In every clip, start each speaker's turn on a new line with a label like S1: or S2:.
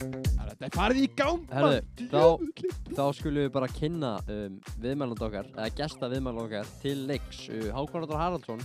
S1: Það er farið í gang
S2: Herðu,
S1: maður,
S2: þá-
S1: djöfull.
S2: Þá skulum við bara kynna um, viðmæland okkar, eða gesta viðmæland okkar til leiks. Uh, Hákonardur Haraldsson,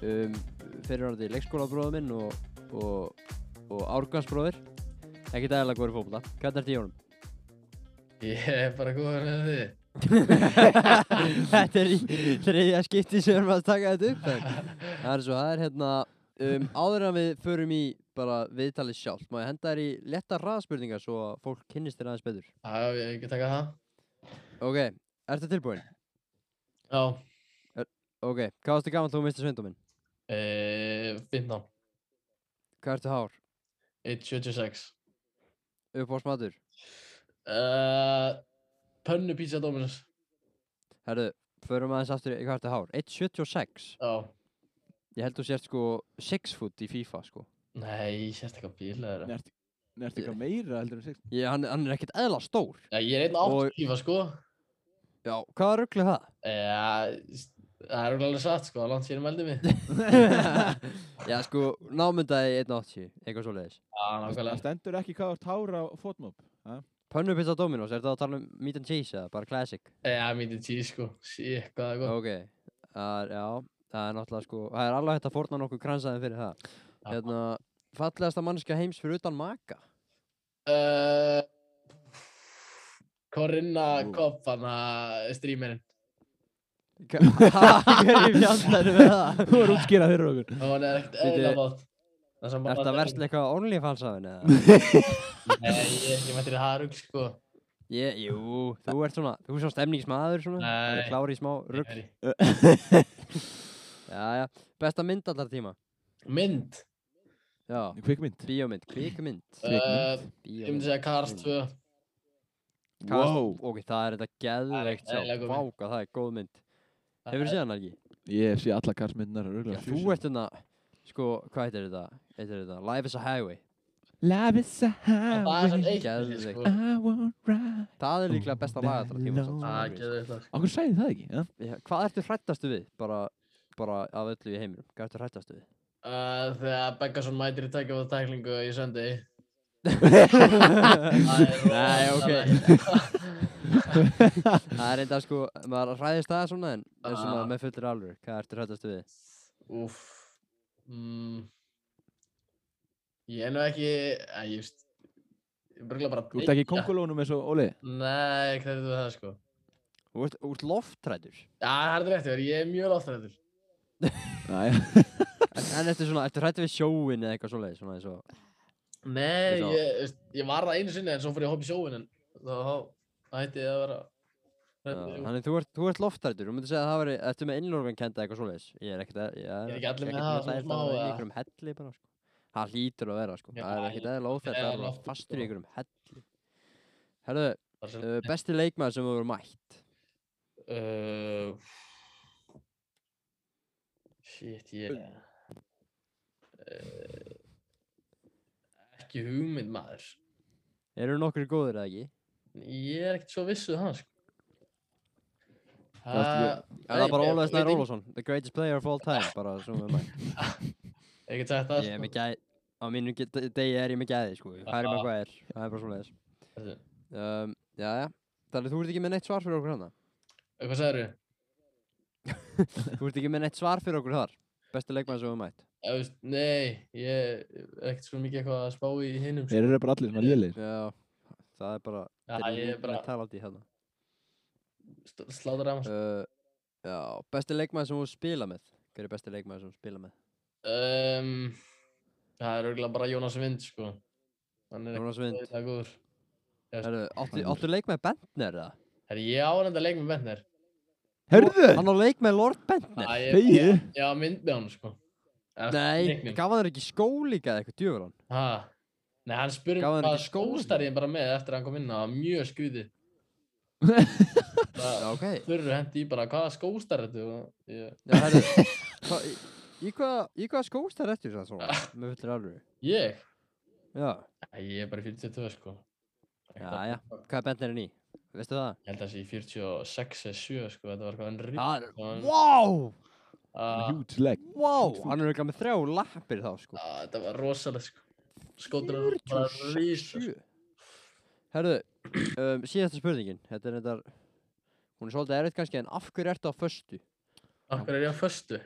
S2: um, fyrirvarandi leikskólabróður minn og, og, og árgangsbróður. Ekkert aðeinslega góður í fótbolta. Hvað er þetta í honum?
S3: Ég er bara góður með því.
S2: þetta er í þriðja skipti sem við erum að taka þetta upp. en Það er svo, það er hérna, um, áður en við förum í bara viðtalið sjálf, má ég henda þér í letta raðspurningar svo að fólk kynnist þér aðeins betur.
S3: Já, já, ég ekki taka það.
S2: Ok, ertu tilbúin?
S3: Já,
S2: Ok, hvað varstu gaman þú mistið sveindóminn?
S3: e, 15,
S2: Hvað ertu hár?
S3: 176.
S2: Uppáhaldsmatur?
S3: Uh, pönnu pizza Dominus.
S2: Herðu, förum aðeins aftur í hvað ertu hár? 1.76
S3: Já,
S2: Ég held þú sért sko 6 foot í FIFA sko
S3: nei, sérst eitthvað bílaður.
S1: Nei, ertu- nei, ertu eitthvað meira heldur en 6
S2: ég, hann, hann er ekkert eðla stór
S3: Já, ég er einn átt
S2: Og-
S3: tífa, sko.
S2: Já, hvað rugglu það?
S3: Já, s- það er alveg satt, sko, langt sér meldi mig.
S2: Já sko, námyndaði 1.80 Eitthvað svoleiðis
S3: Já,
S1: Það
S3: nákvæmlega.
S1: stendur ekki hvað þú tára á fótmob
S2: Pönnupizza Dominos, er það að tala um meat and cheese eða bara classic?
S3: Já, mítið tíð, sko. Sýk, hvað er gott.
S2: Ok, það er, já, það er náttúrulega sko Það er alveg hægt að forna nokkuð kransaðin fyrir það
S3: Já.
S2: Hérna, fallegasta mannskja heims fyrir utan maka
S3: Uh, Corinna
S1: Ú.
S3: Kopp, hann að streamerinn.
S2: Hverju fjallar við það?
S1: Þú er útskýrað fyrir okkur
S3: Og hann er ekkert
S2: Bíddu,
S3: eðla bátt. Er
S2: Er það verslið eitthvað OnlyFans-afinn eða?
S3: Nei, ég er ekki mættir í harug, sko.
S2: Ég, jú, þú ert svona, þú ert svona stemningsmaður svona, þú ert
S3: Nei.
S2: klár í smá rugg.
S3: Rugg.
S2: Já, já, besta mynd allar tíma.
S3: Mynd.
S2: Já,
S1: Kvikmynd
S2: bíómynd, kvikmynd,
S3: Uh,
S1: Kvikmynd.
S3: ég myndi segja Cars 2.
S2: Kast-
S1: Wow
S2: Ok, það er þetta geðveikt
S3: Það er
S2: sjálf,
S3: eiginlega góð mynd.
S2: váka, það er góð mynd.
S3: Eh,
S2: Hefur þú séð hann ekki?
S1: Ég sé alla karsmyndnar
S2: Já, þú ert hérna, sko, hvað heitir þetta? Heitir þetta, Life is a Highway.
S1: Love is a
S3: Það var
S1: highway
S3: þess að eitt,
S2: Geðveikt.
S3: þessi, sko.
S1: I won't ride
S2: Það er líklega besta lag allra tíma. samt,
S3: Það
S2: sko, þú
S3: er
S2: veist.
S3: geðið það.
S1: Á hverju sagði það ekki? Ja?
S2: Já, Hvað ertu hrættastu við? Bara, bara af öllu í heiminum, hvað ertu hrættastu við?
S3: Uh, þegar Beggarsson mætir í tækja á tæklingu í söndi
S2: Nei, ok Það er enda sko, maður hræðist það svona en en svona
S3: Ah.
S2: með fullir alveg, hvað ertu hrættast við?
S3: Úff mm. Ég er nú ekki að ég veist Ég er bara
S1: Þú ert ekki í kongulónum eins og Óli
S3: Nei, hvernig þú það sko
S2: Þú ert, þú ert loftrættur
S3: Já, það er rétt verið, ég er mjög loftrættur
S1: Næja
S2: en, en ertu svona, ertu hrættur við sjóin eða eitthvað svoleið svona eins og
S3: Nei,
S2: Eins og-
S3: ég, veist, ég var það einu sinni en svo fór ég að hoppa í sjóin en þá þá hætti ég að vera hérna hræddur,
S2: Já,
S3: jú.
S2: Þannig þú ert, þú ert loftrættur, þú myndir segja að það veri, ertu með innlorgan kenda eitthvað svoleiðis Ég er ekkert, að- ég
S3: Er
S2: er
S3: ekki allir með
S2: ekkert
S3: það
S2: mjög
S3: svona
S2: hræddur
S3: smá,
S2: að vera í
S3: eða?
S2: einhverjum helli bara sko Það hlýtur að vera sko,
S3: Já,
S2: það er ekkert
S3: ég-
S2: eðla óþært
S3: er
S2: að vera
S3: loftið,
S2: fastur í
S3: sko.
S2: einhverjum helli Herðu,
S3: Bara sem-
S2: uh, besti leikmaður sem þú hefur mætt
S3: Uh, shit, ég uh, ekki hugmynd maður
S2: Eru nokkur góðir eða ekki?
S3: ég er ekkert svo vissu það sko.
S1: varstu
S3: Ha-
S2: Er það
S3: nei,
S2: bara
S3: ég-
S2: Ólafur
S3: ég
S2: Snær
S3: veit
S2: Ólafsson, the greatest player of all time, bara sem við mætt.
S3: ekki- ég get sagt það
S2: Ég er
S3: sko.
S2: með gæði, á mínu ge- de- degi er ég með gæði, sko. Hvað er
S3: Já.
S2: með hvað er, það er bara svona þess.
S3: Þessi-
S2: Um, já, já. Þannig þú ert ekki með neitt svar fyrir okkur hérna? hana.
S3: Eh, hvað sagður við?
S2: Þú ert ekki með neitt svar fyrir okkur þar. Besti leikmann sem við mætt.
S3: Eh, nei, ég er ekkert svo mikið eitthvað að spá í hinum sko.
S1: Þeir eru bara allir svona lélir
S2: Já, það er bara,
S3: Já,
S2: þeir eru
S3: ég er
S2: líka
S3: bara
S2: með talað í hérna. hana.
S3: sl- slátur að maður
S2: Uh, já, besti leikmann sem þú spila með. Hver er besti leikmann sem þú spila með?
S3: um, það er örgulega bara Jónas Vind sko. hann er
S2: Jónas Vind.
S3: eitthvað góður Ég-
S2: Herru, áttu,
S1: Hann-
S2: áttu leik með Bentner það?
S3: Herri, ég á hann að leik með Bentner
S1: Hörðu
S2: Hann á leik með Lord Bentner?
S3: Æ, ég-
S1: Þegi
S3: Já, mynd með hann, sko. Eða
S2: Nei,
S3: leiknum.
S2: gaf hann þér ekki skólíka eða eitthvað djöfur hann?
S3: Ha. Nei, hann spurði
S2: Gaf hann
S3: hvað
S2: ekki skó líka?
S3: skóstarðin bara með eftir að hann kom inn, það var mjög skrýði.
S2: Já,
S3: það
S2: ok.
S3: þurru hendi í bara, hvaða skóstarð ertu? Og Ég,
S2: Já, herru, hva, í, í hvaða hvað skóst það réttur það svona? Með fullir alveg.
S3: ég?
S2: Já,
S3: Æ, ég er bara í 42, sko. Ekkert
S2: já,
S3: að-
S2: já. Hvað er bendnirinn í? Veistu það?
S3: Ég held að það sé í 46 eða 7, sko, þetta var eitthvað Ah. enn rík.
S2: Það er,
S3: Hann-
S2: wow,
S1: Huge leg
S2: wow, hann er ekki með þrjá lappir þá, sko.
S3: Þetta var rosalega, sko. Skotur hann bara rísa.
S2: 47. Herðu, um, síðasta spurningin Þetta er þetta Hún er svolítið erfitt kannski En af hverju ertu á föstu?
S3: Akkur er ég á föstu.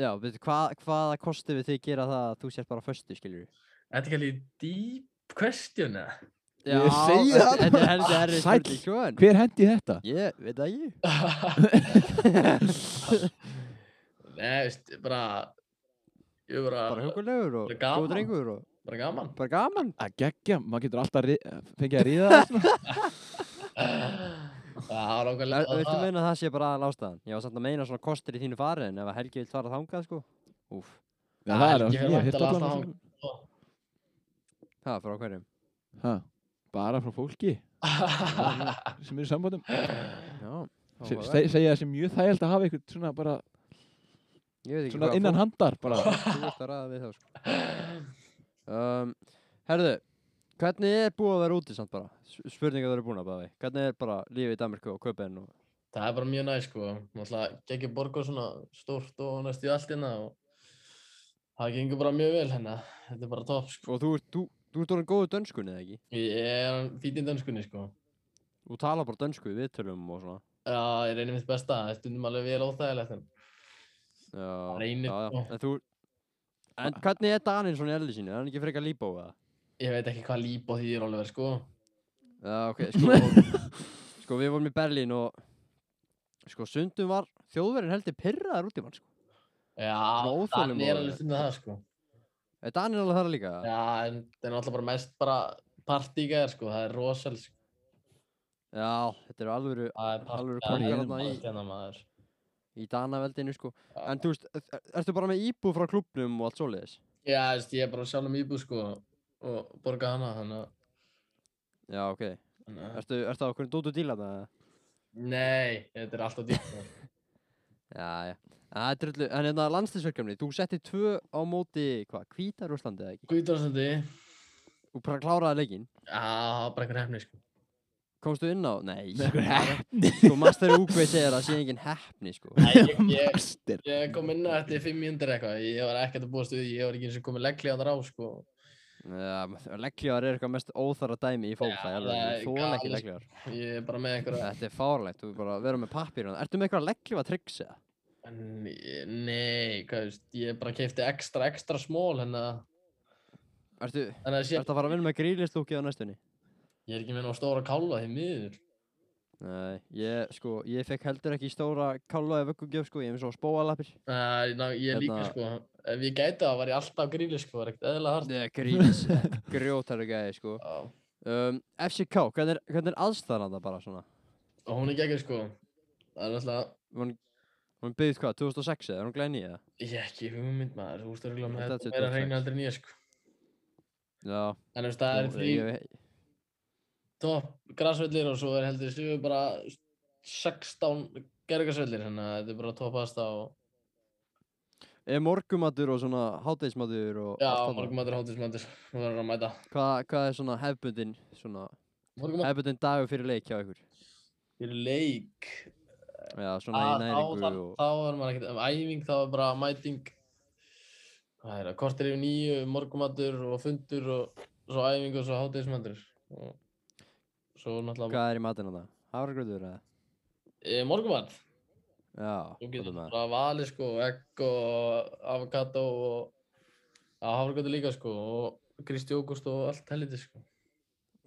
S2: Já, veitu, hva, hvaða kosti við þig gera það að þú sért bara á föstu, skiljur við?
S3: Þetta er kallið deep question eða?
S1: Ég segi það
S2: Þetta þetta er heldur erfið
S1: Sæll.
S2: spurning, sko en
S1: Hver hendi þetta?
S2: Ég, veit það ekki
S3: Nei, veist, bara, ég er
S2: Bara
S3: bara,
S2: hugulegur og
S3: Bara gaman.
S2: góð drengur og
S3: bara gaman.
S2: bara gaman
S1: Að geggja, maður getur alltaf ri- fengið að ríða það svona.
S3: Það var okkur
S2: Er- Viltu meina að það sé bara aðal ástæðan? Ég var samt að meina svona kostir í þínu fari en ef að Helgi vill fara þangað, sko Úf,
S1: Já, Það er
S3: Helgi
S1: alveg,
S3: fer
S1: ég hef
S3: væntanlega
S1: allan
S3: alltaf
S1: að-
S2: það var frá hverjum
S1: Ha, Bara frá fólki sem eru í sambandum
S2: Já,
S1: Se-
S2: áhugavert.
S1: se- segja þessi mjög þægild að hafa eitthvað svona bara
S2: Ég veit ekki
S1: svona
S2: hvað
S1: innan
S2: fólk-
S1: handar bara
S2: Þú ert að ræða við þá, sko um, Herðu, hvernig er búið að vera úti samt bara? S- Spurningar það eru búin að bæði Hvernig er bara lífið í Danmarku og Köpen og
S3: Það er bara mjög næ, sko. Náttúrulega geggjur borg og svona stórt og næstu í allt hérna og það gengur bara mjög vel hérna. Þetta er bara topp, sko.
S2: Og þú ert, þú, þú ert orðin góðu dönskunni eða ekki?
S3: Ég er fítið í dönskunni, sko.
S2: Þú talar bara dönsku í viðtölum og svona
S3: Já, ég reynir mitt besta. Það er stundum alveg vel óþægilegt en
S2: Já,
S3: Reynir
S2: já, já.
S3: sko.
S2: En þú En hvernig er Daninn svona í elli sínu? Er hann ekki frekar líbó eða?
S3: ég veit ekki hvað líp og þýðir alveg, sko.
S2: Já, ok, sko Sko, við vorum í Berlín og Sko, sundum var Þjóðverðin heldur pirraðar út í mann, sko
S3: Já,
S2: Svona
S3: þannig
S2: óþolinmóður.
S3: er alveg stundum það, sko.
S2: Er Daninn alveg þar líka?
S3: Já, en það er náttúrulega bara mest bara partígæðar, sko. Það er rosal, sko.
S2: Já, þetta eru alvöru
S3: Það er
S2: Alvöru kóngar
S3: partígæðar hinum
S2: þarna í-
S3: allt hérna, maður.
S2: í Danaveldinu sko
S3: Já.
S2: En þú veist, er, ertu bara með íbú frá klubnum og allt svoleiðis?
S3: Já, þú veist, ég er bara sjálf um íbúð, sko, og borga hana, þannig að-
S2: Já, ok
S3: þannig að...
S2: Ertu, ertu á okkur dótu díla það?
S3: Nei, þetta er alltaf dýrt. maður.
S2: Já, já En það er drullu, en hérna landslisverkefni, þú settir tvö á móti, hvað, hvítar Úslandi eða ekki?
S3: Hvítrússlandi,
S2: Þú bara kláraði leikinn,
S3: já, það var bara einhver hefni, sko.
S2: komstu inn á, nei
S1: hefni
S2: Sko, Master Úkvei segir að það sé engin heppni, sko
S3: Æ, ég, ég,
S1: Master
S3: ég kom inn á eftir 5 mínútur eitthvað, ég var ekkert að búast við, því, ég var ekki eins og komið legglíðanar á, sko.
S2: Já, legglíðar er eitthvað mest óþara dæmi í fólkta,
S3: Já,
S2: ég
S3: það er
S2: alveg, þú er ekki
S3: galið, sko.
S2: legglíðar
S3: Ég er bara með einhverja,
S2: Þetta er fárlegt, þú bara verður með pappir Ertu með eitthvað legglífa tricks eða?
S3: En ég- nei, hvað veist, ég bara keipti ekstra, ekstra smól, þannig að,
S2: Ertu,
S3: þannig að sé,
S2: ertu að fara að vinna með grílistúkið á næstunni?
S3: ég er ekki með ná stóra kálva því miður.
S2: Nei, ég, sko, ég fekk heldur ekki stóra kálvaði vöggugjöf, sko, ég hef svo spóalappir.
S3: Æ, ná, ég er líka,
S2: Hérna-
S3: sko, ef ég gæti það var ég alltaf á gríli, sko, það er ekkert eðla hart.
S2: Nei, grís, grjótari gæði, sko.
S3: Já,
S2: Um, FCK, hvernig er, hvernig er aðstæðan það bara svona?
S3: og hún er geggjur, sko, það er alltaf,
S2: Hún, hún byggðið hvað, 2006 eða, er hún glæni eða?
S3: ég er ekki hugmynd maður, þú veist, það er
S2: Ég
S3: með
S2: held að
S3: þetta
S2: þetta sé
S3: meira hreina
S2: 2006.
S3: aldrei nýja, sko.
S2: Já,
S3: En þú veist, það er
S2: nú,
S3: því
S2: ég-
S3: topp græsvellir og svo er heldur séu bara 16 gergasvellir, þannig að þetta er bara toppast á
S2: Er morgumatur og svona hátægismatur og
S3: Já,
S2: allt þarna?
S3: morgumatur, hátismatur, þú verður að mæta
S2: Hvað, hvað er svona hefbundin, svona,
S3: Morgumatur
S2: hefbundin dagur fyrir leik hjá ykkur?
S3: fyrir leik
S2: Já, svona í
S3: Að- Ah, Þá
S2: næringu
S3: þarf-
S2: og...
S3: þá er maður ekkert, ef æfing þá er bara mæting Það er að kortir yfir nýju, morgumatur og fundur og svo æfing og svo hátismatur og svo náttúrulega
S2: Hvað er í matinn þarna? Hafragröður eða?
S3: e, Morgumat,
S2: Já,
S3: þú
S2: hvað
S3: getur
S2: er það?
S3: bara valið sko, egg og avokado og að hafragrötu líka sko og Kristi Ógúst og allt helviti sko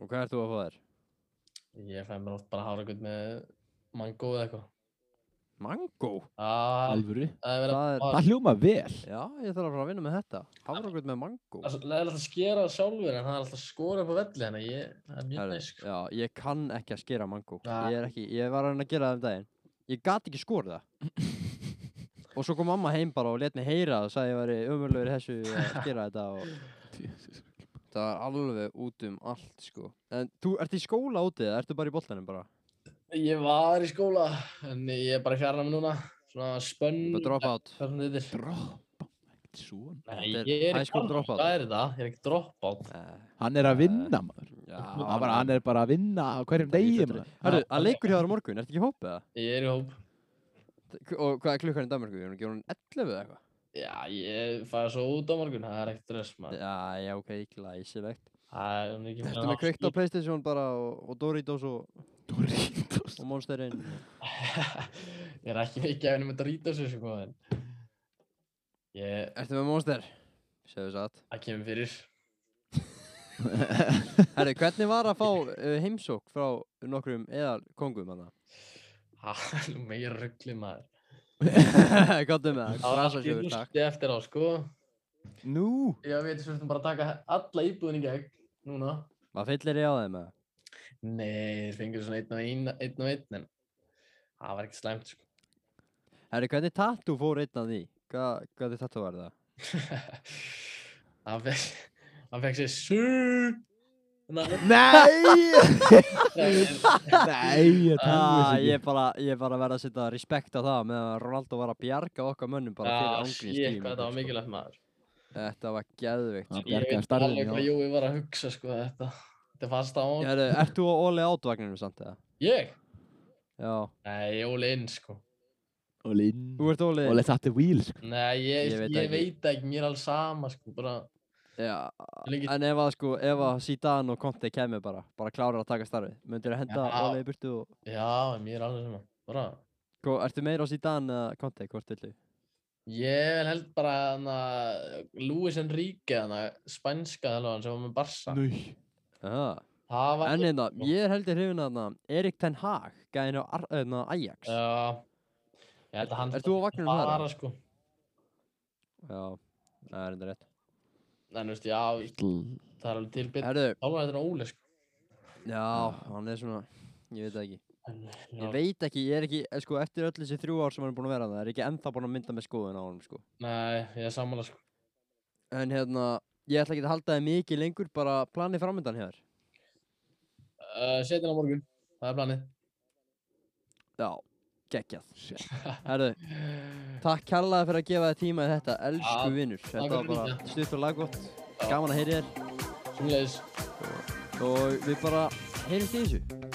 S2: Og hvað ert þú að fá þér?
S3: Ég fæ mér oft bara hafragrötu með mango eða eitthvað
S2: Mango?
S3: Það
S1: Alvöru
S3: það er verið
S2: Það er-
S3: að
S1: Það hljóma vel
S2: Já, ég þarf að fara að vinna með þetta. Hafragröð með mango.
S3: Það er alltaf að skera það sjálfur en það er alltaf að skora upp á velli þannig að ég, það er mjög
S2: Herru,
S3: næst sko.
S2: já, ég kann ekki að skera mango.
S3: Nei.
S2: Ég er ekki, ég var að reyna að gera það um daginn. Ég gat ekki skorið það. og svo kom mamma heim bara og let mig heyra það og sagði ég væri umurlegur þessu að skera þetta og það var alveg út um allt sko. En þú ert í skóla úti eða ertu bara í boltanum bara?
S3: Ég var í skóla en ég er bara að fjara mig núna, svona spönn,
S2: Bara drop out.
S3: hvað sem þetta er.
S1: Droppa ekkert svona
S3: Nei,
S2: Þetta er
S3: ég er
S2: high
S3: ekki
S2: school
S3: dropout,
S2: dropout.
S3: hvað er þetta? Ég er ekki dropout.
S2: Nei,
S1: Hann er að vinna maður
S2: Eh, já,
S1: Hann, bara, hann er bara að vinna á hverjum degi maður
S2: Herru, að leikur hjá þér á morgun, ertu ekki í hópið það?
S3: Ég er í hóp.
S2: Og hvað er klukkan í Danmarku? Er hún ekki orðin 11 eða eitthvað?
S3: Já, ég fæði svo út á morgun, það er ekkert stress maður.
S2: Já, já, ok, glæsilegt.
S3: Það er um mikið
S2: Ertu með kveikt á Playstation bara og, og Doritos og,
S1: Doritos
S2: og Monster Inn
S3: Ég er ekki mikið að henni með Doritos þessu sko en Ég,
S2: Ertu með Monster? Segðu satt
S3: það kemur fyrir
S2: Herri, hvernig var að fá uh, heimsók frá nokkrum eða kongum hana?
S3: Það er nú meira ruggli maður
S2: Gáttu með það,
S3: Það var allt í
S2: frasasjóður takk
S3: rústi eftir á sko
S1: Nú
S3: Já, við erum svolítið bara að taka alla íbúðin í gegn núna
S2: Maður fyllir ég á þeim eða?
S3: Nei, þeir fengur svona einn og einn, einn og einn en það var ekki slæmt sko
S2: Herri, hvernig tattoo fór einn af því? Hvað, hvað þið tattoo var það?
S3: Hann fekk, hann fekk sér sur Þannig
S1: Nei
S3: að
S1: Nei, ég
S2: Ah,
S1: trúi
S2: ég er
S1: þessu
S2: bara, ég er bara að verða að setja respekt á það meðan að Ronaldo var að bjarga okkar mönnum bara fyrir
S3: Já,
S2: ángriðs
S3: sík, Ah, hvað þetta var mikilvægt Ah. maður
S2: Þetta var geðvikt
S1: Hann
S2: sko.
S3: Ég
S1: bjargaði
S3: veit
S1: starfinu
S3: alveg
S1: hjá-
S3: hvað Jói var að hugsa sko þetta Þetta fannst á hann
S2: Heru, Ert þú á Óli átvagninum samt eða?
S3: Ég?
S2: Já,
S3: Nei, Jóli inn sko
S1: Og Linn
S2: þú ert Óli
S1: Og let's at the wheel sko.
S3: Nei,
S2: Ég
S3: ég, ég,
S2: veit
S3: veit,
S2: ekki.
S3: ekki, mér er alls sama sko bara
S2: Já,
S1: Ah,
S3: lengi,
S2: en ef að sko, ef að Zidane og Conte kemur bara, bara klárar að taka starfið Möndir að henda
S3: Já.
S2: Óli í burtu og
S3: Já, mér er alveg sama bara,
S2: Hvo, Ertu meira á Zidane eða Conte, hvort villu?
S3: Ég held bara hana, Luis Enrique, hana, spænska þjálfan sem var með Barca
S1: Nei
S2: Aha.
S3: Það var
S2: En hérna,
S3: sko.
S2: ég er heldur hrifin að þarna Erik Ten Hag, gæðin á Ar- hérna, Ajax
S3: Já, ég held að hann
S2: Ert þú á vagninum þar?
S3: bara
S2: eða?
S3: sko
S2: Já, það er enda rétt
S3: En veist, já, veist, það er alveg til betur
S2: Herru,
S3: Þjálfan þetta er Óli sko
S2: Já, hann er svona, ég veit það ekki.
S3: En, já,
S2: Ég veit ekki, ég er ekki, eh, sko, eftir öll þessi þrjú ár sem hann er búin að vera það, er ég ekki ennþá búin að mynda með skoðun á hann, sko.
S3: Nei, ég er sammála sko
S2: En hérna, ég ætla ekki að halda þið mikið lengur, bara planið framöndan hér.
S3: uh, Setin á morgun, það er planið
S2: Já, geggjað. Herðu, takk kærlega fyrir að gefa þið tíma í þetta, elsku
S3: Já,
S2: vinnur. Þetta
S3: fyrir
S2: var bara
S3: líka.
S2: stutt og laggott,
S3: Já.
S2: gaman að heyri þér
S3: Sumleis
S2: og við bara heyrjum því þessu.